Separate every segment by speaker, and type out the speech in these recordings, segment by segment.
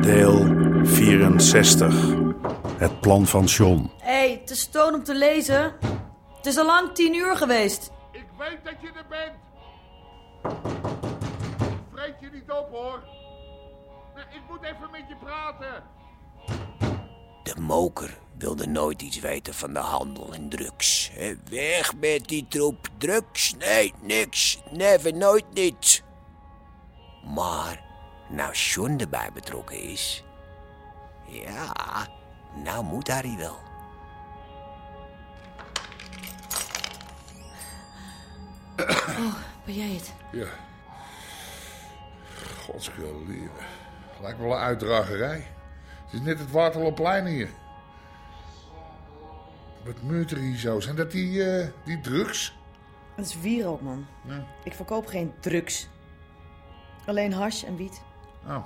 Speaker 1: Deel 64. Het plan van John.
Speaker 2: Hé, hey, het is toon om te lezen. Het is al lang tien uur geweest.
Speaker 3: Ik weet dat je er bent. Ik vreet je niet op hoor. Nee, Ik moet even met je praten.
Speaker 4: De moker wilde nooit iets weten van de handel in drugs. Hè, Weg met die troep drugs. Nee, niks. Never, nooit niet. Maar, nou John erbij betrokken is... Ja, nou moet Harry wel.
Speaker 2: Ben jij het?
Speaker 5: Ja. Godsgelieven. Lijkt wel een uitdragerij. Het is net het Waterloopplein hier. Wat meurt er hier zo? Zijn dat die, eh, die drugs?
Speaker 6: Dat is wierook, man. Ik verkoop geen drugs. Alleen hash en wiet.
Speaker 5: Oh,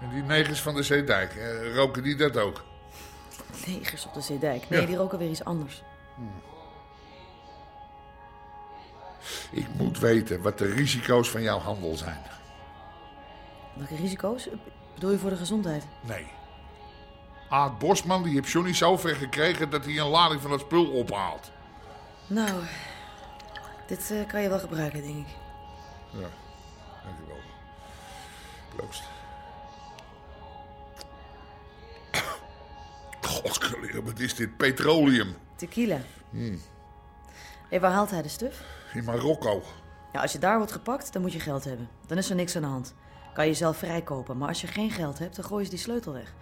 Speaker 5: en die negers van de Zeedijk, eh, roken die dat ook?
Speaker 6: Negers op de Zeedijk. Nee,
Speaker 5: Ja.
Speaker 6: die roken weer iets anders.
Speaker 5: Ik moet weten wat de risico's van jouw handel zijn.
Speaker 6: Welke risico's? Bedoel je voor de gezondheid?
Speaker 5: Nee. Aad Bosman die heeft Johnny zover gekregen dat hij een lading van dat spul ophaalt.
Speaker 6: Nou, dit eh, kan je wel gebruiken, denk ik.
Speaker 5: Ja, dankjewel. Proost. Godgeleerde, wat is dit? Petroleum.
Speaker 6: Tequila. Hé, waar haalt hij de stuf?
Speaker 5: In Marokko.
Speaker 6: Ja, als je daar wordt gepakt, dan moet je geld hebben. Dan is er niks aan de hand. Kan je zelf vrijkopen. Maar als je geen geld hebt, dan gooien ze die sleutel weg.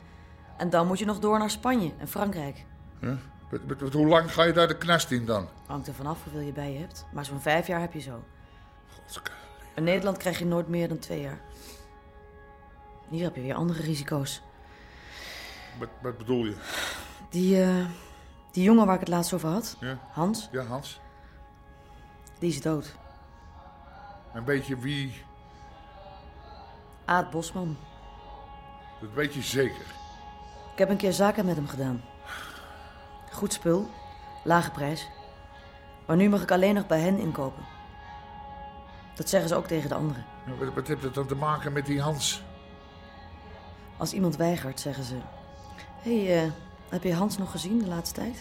Speaker 6: En dan moet je nog door naar Spanje en Frankrijk.
Speaker 5: Huh? Wat- wat- wat- hoe lang ga je daar de knast in dan?
Speaker 6: Hangt er vanaf hoeveel je bij je hebt. Maar zo'n vijf jaar heb je zo.
Speaker 5: Godgeleerde.
Speaker 6: In Nederland krijg je nooit meer dan twee jaar. Hier heb je weer andere risico's.
Speaker 5: Wat, wat bedoel je?
Speaker 6: Die, eh, die jongen waar ik het laatst over had,
Speaker 5: Ja.
Speaker 6: Hans,
Speaker 5: Ja, Hans?
Speaker 6: die is dood.
Speaker 5: En weet je wie?
Speaker 6: Aad Bosman.
Speaker 5: Dat weet je zeker.
Speaker 6: Ik heb een keer zaken met hem gedaan. Goed spul, lage prijs. Maar nu mag ik alleen nog bij hen inkopen. Dat zeggen ze ook tegen de anderen.
Speaker 5: Ja, Wat, wat heeft dat dan te maken met die Hans?
Speaker 6: Als iemand weigert, zeggen ze... Hé, hey, eh, heb je Hans nog gezien de laatste tijd?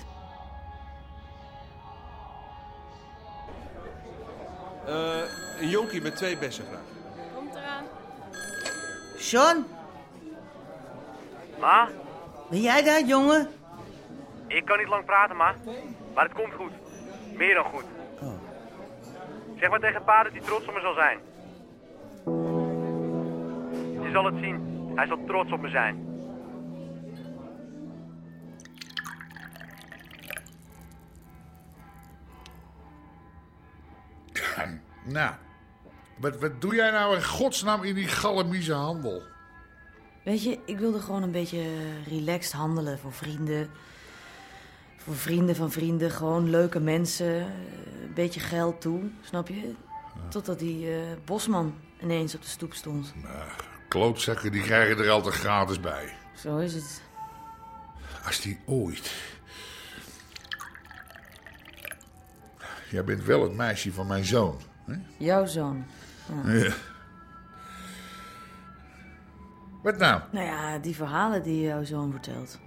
Speaker 7: Eh, een jonkie met twee bessen graag.
Speaker 8: John,
Speaker 9: Ma,
Speaker 8: ben jij daar, jongen?
Speaker 9: ik kan niet lang praten, ma. Maar het komt goed. Meer dan goed. Zeg maar tegen pa dat hij trots op me zal zijn. Je zal het zien. Hij zal trots op me zijn.
Speaker 5: Nou, wat, wat doe jij nou in godsnaam in die galamieze handel?
Speaker 6: Weet je, ik wilde gewoon een beetje eh, relaxed handelen voor vrienden. Voor vrienden van vrienden, gewoon leuke mensen. eh, Een beetje geld toe, snap je? Totdat die eh, bosman ineens op de stoep stond.
Speaker 5: Klootzakken die krijgen er altijd gratis bij.
Speaker 6: Zo is het.
Speaker 5: Als die ooit. Jij bent wel het meisje van mijn zoon. Hè?
Speaker 6: Jouw zoon.
Speaker 5: Ja. Wat nou?
Speaker 6: Nou ja, die verhalen die jouw zoon vertelt.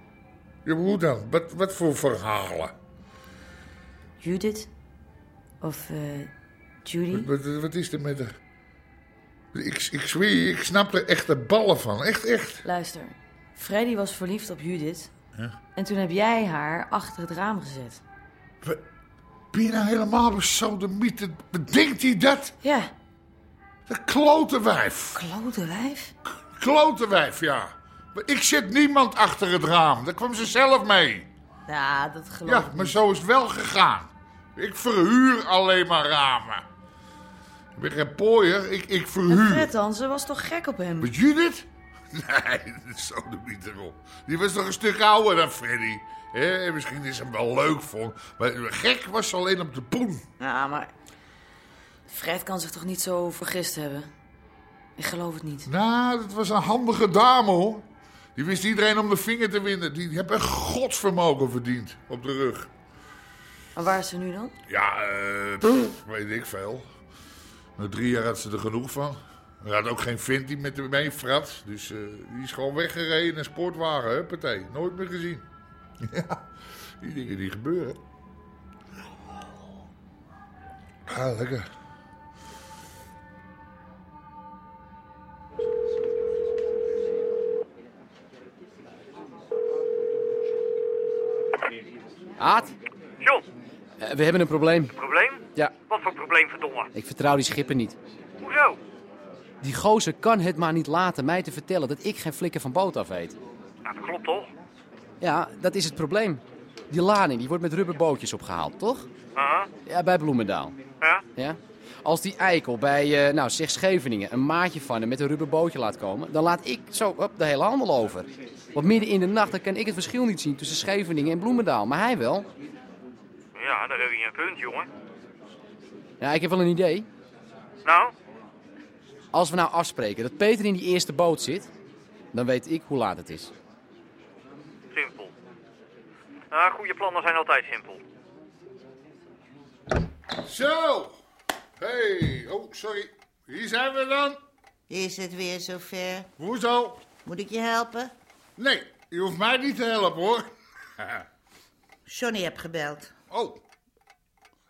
Speaker 5: Ja, hoe dan? Wat, wat voor verhalen?
Speaker 6: Judith? Of eh, Judy?
Speaker 5: Wat, wat is er met de. Ik, ik zweer je, ik snap er echt de ballen van. Echt, echt.
Speaker 6: Luister, Freddy was verliefd op Judith. En toen heb jij haar achter het raam gezet.
Speaker 5: Wat- Ben je nou helemaal besodemiet? Bedenkt hij dat?
Speaker 6: Ja,
Speaker 5: Dat klote wijf.
Speaker 6: klote wijf.
Speaker 5: Klote wijf, ja. Ik zit niemand achter het raam. Daar kwam ze zelf mee.
Speaker 6: Ja, dat geloof
Speaker 5: Ja,
Speaker 6: ik
Speaker 5: maar
Speaker 6: niet.
Speaker 5: zo is het wel gegaan. Ik verhuur alleen maar ramen. Ik ben geen pooier, ik, ik
Speaker 6: En
Speaker 5: verhuur.
Speaker 6: Fred dan, ze was toch gek op hem?
Speaker 5: Met Judith? Nee, zo doe ik niet erop. Die was toch een stuk ouder dan Freddy. Hè, en misschien is hem wel leuk voor, maar gek was ze alleen op de poen.
Speaker 6: Ja, maar... Fred kan zich toch niet zo vergist hebben? Ik geloof het niet.
Speaker 5: Nou, dat was een handige dame hoor. Die wist iedereen om de vinger te winden. Die, die hebben echt godsvermogen verdiend op de rug.
Speaker 6: Maar waar is ze nu dan?
Speaker 5: Ja, eh, pff, weet ik veel. Na drie jaar had ze er genoeg van. Er had ook geen vent die met hem mee frat. Dus eh, die is gewoon weggereden in een sportwagen, huppatee. Nooit meer gezien. Ja, die dingen die gebeuren. Ah, lekker.
Speaker 10: Aad,
Speaker 9: John,
Speaker 10: eh, we hebben een probleem.
Speaker 9: probleem?
Speaker 10: Ja,
Speaker 9: Wat voor probleem, verdomme?
Speaker 10: ik vertrouw die schipper niet.
Speaker 9: Hoezo?
Speaker 10: Die gozer kan het maar niet laten mij te vertellen dat ik geen flikker van boot af weet.
Speaker 9: Nou, dat klopt toch?
Speaker 10: Ja, dat is het probleem. Die lading die wordt met rubberbootjes opgehaald, toch?
Speaker 9: Aha,
Speaker 10: Ja, bij Bloemendaal.
Speaker 9: ja.
Speaker 10: Ja? Als die eikel bij, eh, nou zeg Scheveningen, een maatje van hem met een rubberbootje laat komen, dan laat ik zo hop, de hele handel over. Want midden in de nacht dan kan ik het verschil niet zien tussen Scheveningen en Bloemendaal, maar hij wel.
Speaker 9: Ja, daar heb je een punt, jongen.
Speaker 10: Ja, ik heb wel een idee.
Speaker 9: Nou,
Speaker 10: Als we nou afspreken dat Peter in die eerste boot zit, dan weet ik hoe laat het is.
Speaker 9: simpel. Ah, goede plannen zijn altijd simpel.
Speaker 5: Zo! hey, oh, sorry. Hier zijn we dan.
Speaker 8: Is het weer zover?
Speaker 5: Hoezo?
Speaker 8: Moet ik je helpen?
Speaker 5: Nee, je hoeft mij niet te helpen hoor.
Speaker 8: Johnny heb gebeld.
Speaker 5: Oh.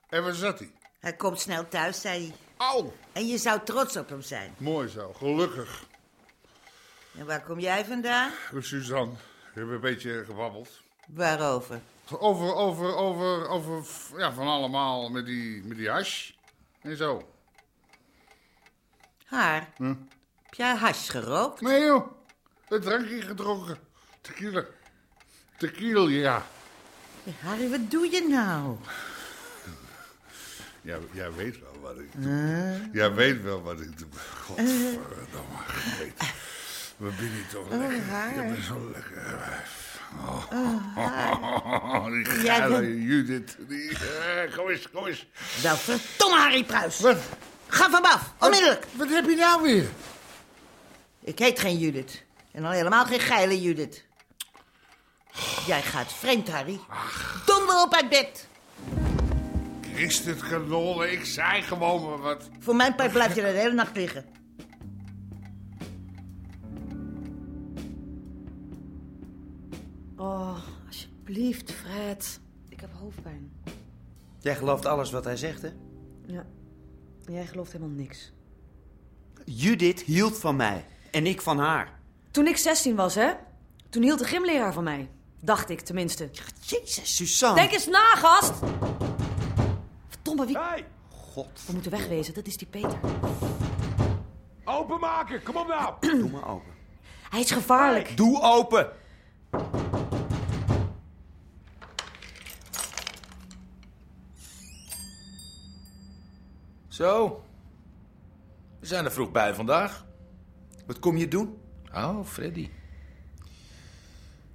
Speaker 5: En waar zat hij?
Speaker 8: Hij komt snel thuis, zei hij.
Speaker 5: Au,
Speaker 8: En je zou trots op hem zijn.
Speaker 5: mooi zo, gelukkig.
Speaker 8: En waar kom jij vandaan?
Speaker 5: Suzanne, we hebben een beetje gebabbeld.
Speaker 8: Waarover?
Speaker 5: Over, over, over, over, f- ja, van allemaal met die, met die hash en zo.
Speaker 8: Haar.
Speaker 5: Hm?
Speaker 8: Heb jij hash gerookt?
Speaker 5: Nee joh, een drankje gedronken. Tequila. Tequila, ja.
Speaker 8: Harry, wat doe je nou?
Speaker 5: ja. Jij weet wel wat ik doe. Jij weet wel wat ik doe. Godverdomme, geet. We binnen toch lekker. Je bent zo lekker. Oh, die
Speaker 8: Jij
Speaker 5: geile
Speaker 8: bent-
Speaker 5: Judith. Die, eh, kom eens, kom eens.
Speaker 8: Nou, verdomme Harry Pruis.
Speaker 5: Wat?
Speaker 8: Ga van me af, onmiddellijk.
Speaker 5: Wat heb je nou weer?
Speaker 8: Ik heet geen Judith. En al helemaal geen geile Judith. Jij gaat vreemd, Harry. Donder op uit bed.
Speaker 5: Christen Genole, ik zei gewoon maar wat.
Speaker 8: Voor mijn part blijf je daar de hele nacht liggen.
Speaker 6: Oh, alsjeblieft, Fred. Ik heb hoofdpijn.
Speaker 11: Jij gelooft alles wat hij zegt, hè?
Speaker 6: Ja. Jij gelooft helemaal niks.
Speaker 11: Judith hield van mij. En ik van haar.
Speaker 6: Toen ik 16 was, hè? Toen hield de gymleraar van mij. Dacht ik tenminste.
Speaker 11: Jezus, Suzanne.
Speaker 6: Denk eens na, gast! Verdomme, wie...
Speaker 11: God,
Speaker 6: We moeten wegwezen, dat is die Peter.
Speaker 7: Openmaken, kom op nou!
Speaker 11: doe maar open.
Speaker 6: Hij is gevaarlijk.
Speaker 11: Doe open!
Speaker 12: Zo. We zijn er vroeg bij vandaag.
Speaker 11: Wat kom je doen?
Speaker 12: Oh, Freddy.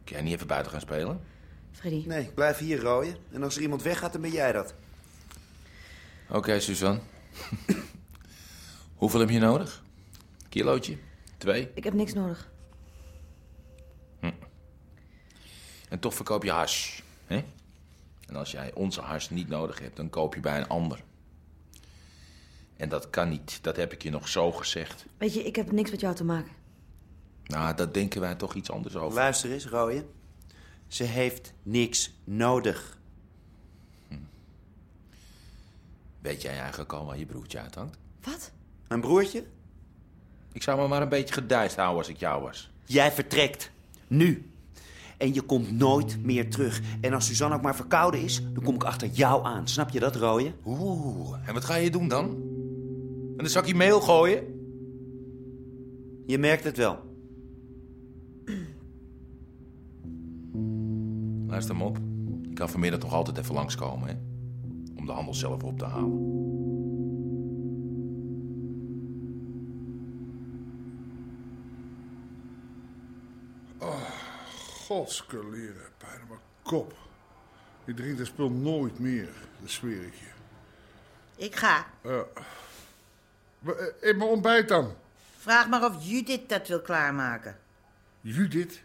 Speaker 12: Kun jij niet even buiten gaan spelen?
Speaker 6: Freddy,
Speaker 11: Nee, ik blijf hier rooien. En als er iemand weggaat, dan ben jij dat.
Speaker 12: Oké, Suzanne. Hoeveel heb je nodig? Kilootje? Twee?
Speaker 6: ik heb niks nodig.
Speaker 12: En toch verkoop je hash. Hè? En als jij onze hash niet nodig hebt, dan koop je bij een ander. En dat kan niet. Dat heb ik je nog zo gezegd.
Speaker 6: Weet je, ik heb niks met jou te maken.
Speaker 12: Nou, daar denken wij toch iets anders over.
Speaker 11: Luister eens, rooien. Ze heeft niks nodig.
Speaker 12: Weet jij eigenlijk al waar je broertje uithangt?
Speaker 6: Wat?
Speaker 11: Mijn broertje?
Speaker 12: Ik zou me maar een beetje gedijst houden als ik jou was.
Speaker 11: Jij vertrekt. Nu. En je komt nooit meer terug. En als Suzanne ook maar verkouden is, dan kom ik achter jou aan. Snap je dat, rooien?
Speaker 12: Oeh, en wat ga je doen dan? En een zakje meel gooien?
Speaker 11: Je merkt het wel.
Speaker 12: Luister hem op. Je kan vanmiddag toch altijd even langskomen, hè? Om de handel zelf op te halen.
Speaker 5: Oh, godskeleren, pijn aan mijn kop. Ik drink dat spul nooit meer, dat zweer ik je.
Speaker 8: Ik ga.
Speaker 5: Ja. Maar, eh, In mijn ontbijt dan.
Speaker 8: Vraag maar of Judith dat wil klaarmaken.
Speaker 5: Judith?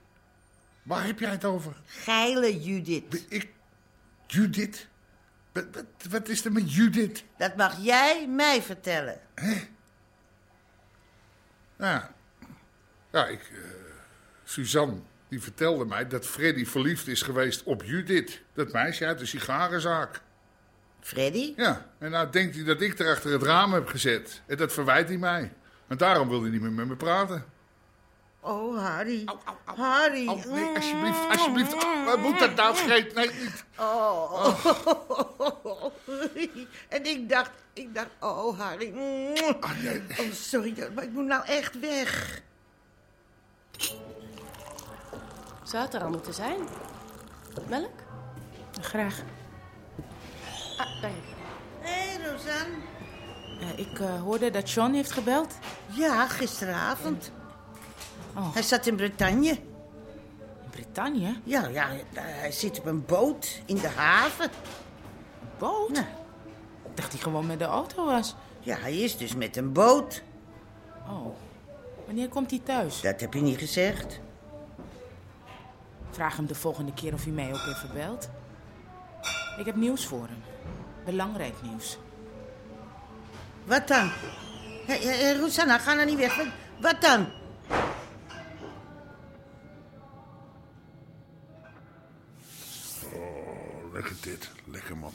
Speaker 5: Waar heb jij het over?
Speaker 8: Geile Judith.
Speaker 5: Ik... Judith? Wat, is er met Judith?
Speaker 8: Dat mag jij mij vertellen.
Speaker 5: Nou, ja, ik... eh, Suzanne, die vertelde mij dat Freddy verliefd is geweest op Judith. Dat meisje uit de sigarenzaak.
Speaker 8: Freddy?
Speaker 5: Ja, en nou denkt hij dat ik er achter het raam heb gezet. En dat verwijt hij mij. En daarom wil hij niet meer met me praten.
Speaker 8: Oh, Harry. Harry. Mm,
Speaker 5: Oh, nee, alsjeblieft, alsjeblieft. Oh, wat moet dat nou, Greet? Nee, niet.
Speaker 8: Oh. en ik dacht, ik dacht, oh, Harry. Oh, sorry, maar ik moet nou echt weg.
Speaker 13: Zou het er al moeten zijn? Melk? Graag. Ah, daar heb je.
Speaker 8: Hé, hey, Rosanne.
Speaker 13: Eh, ik eh, hoorde dat John heeft gebeld.
Speaker 8: Ja, gisteravond. Hij zat in Bretagne.
Speaker 13: Bretagne?
Speaker 8: Ja, ja, hij zit op een boot in de haven.
Speaker 13: Boot? Ik dacht hij gewoon met de auto was.
Speaker 8: Ja, hij is dus met een boot.
Speaker 13: Oh. Wanneer komt hij thuis?
Speaker 8: Dat heb je niet gezegd.
Speaker 13: Vraag hem de volgende keer of hij mij ook even belt. Ik heb nieuws voor hem. Belangrijk nieuws.
Speaker 8: Wat dan? Hé, hé, hé, Rosanna, ga nou niet weg. Wat- Wat dan?
Speaker 5: Oh, lekker dit. Lekker, man.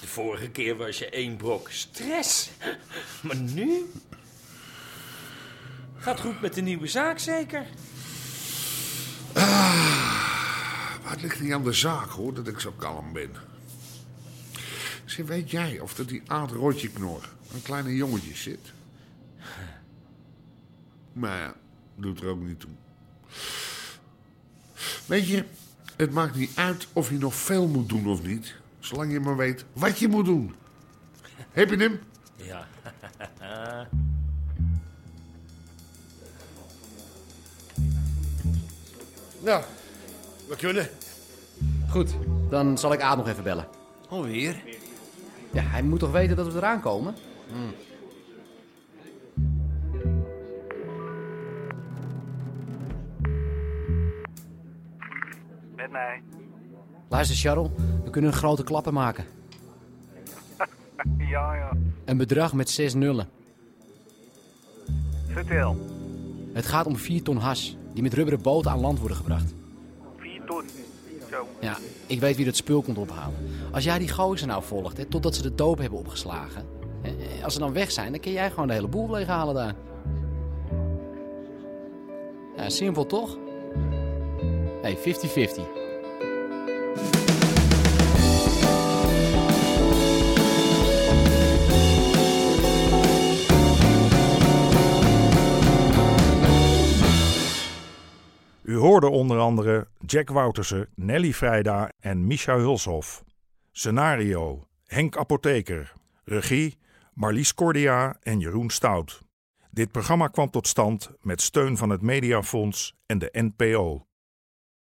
Speaker 14: De vorige keer was je één brok stress. Maar nu? Gaat goed met de nieuwe zaak zeker?
Speaker 5: Maar het ligt niet aan de zaak, hoor, dat ik zo kalm ben. Zeg, weet jij of dat die Aad Rotje Knor een kleine jongetje zit? Maar ja, doet er ook niet toe. Weet je, het maakt niet uit of je nog veel moet doen of niet. Zolang je maar weet wat je moet doen. Heb je hem?
Speaker 14: Ja.
Speaker 5: Nou,
Speaker 10: we kunnen. Goed, dan zal ik Aad nog even bellen.
Speaker 11: Alweer?
Speaker 10: Ja, hij moet toch weten dat we eraan komen?
Speaker 9: Met mij.
Speaker 10: Luister, Charles, we kunnen een grote klappen maken.
Speaker 9: ja, ja.
Speaker 10: Een bedrag met zes nullen.
Speaker 9: Vertel.
Speaker 10: Het gaat om 4 ton hash, die met rubberen boten aan land worden gebracht.
Speaker 9: Vier ton. Zo.
Speaker 10: Ja, ik weet wie dat spul komt ophalen. Als jij die gozer nou volgt, hè, totdat ze de doop hebben opgeslagen. hè, hè, Als ze dan weg zijn, dan kun jij gewoon de hele boel leeghalen daar. Ja, simpel toch? Hé, hey, 50-50.
Speaker 1: U hoorde onder andere Jack Woutersen, Nelly Vrijda en Misha Hulshof. Scenario: Henk Apotheker. Regie: Marlies Cordia en Jeroen Stout. Dit programma kwam tot stand met steun van het Mediafonds en de NPO.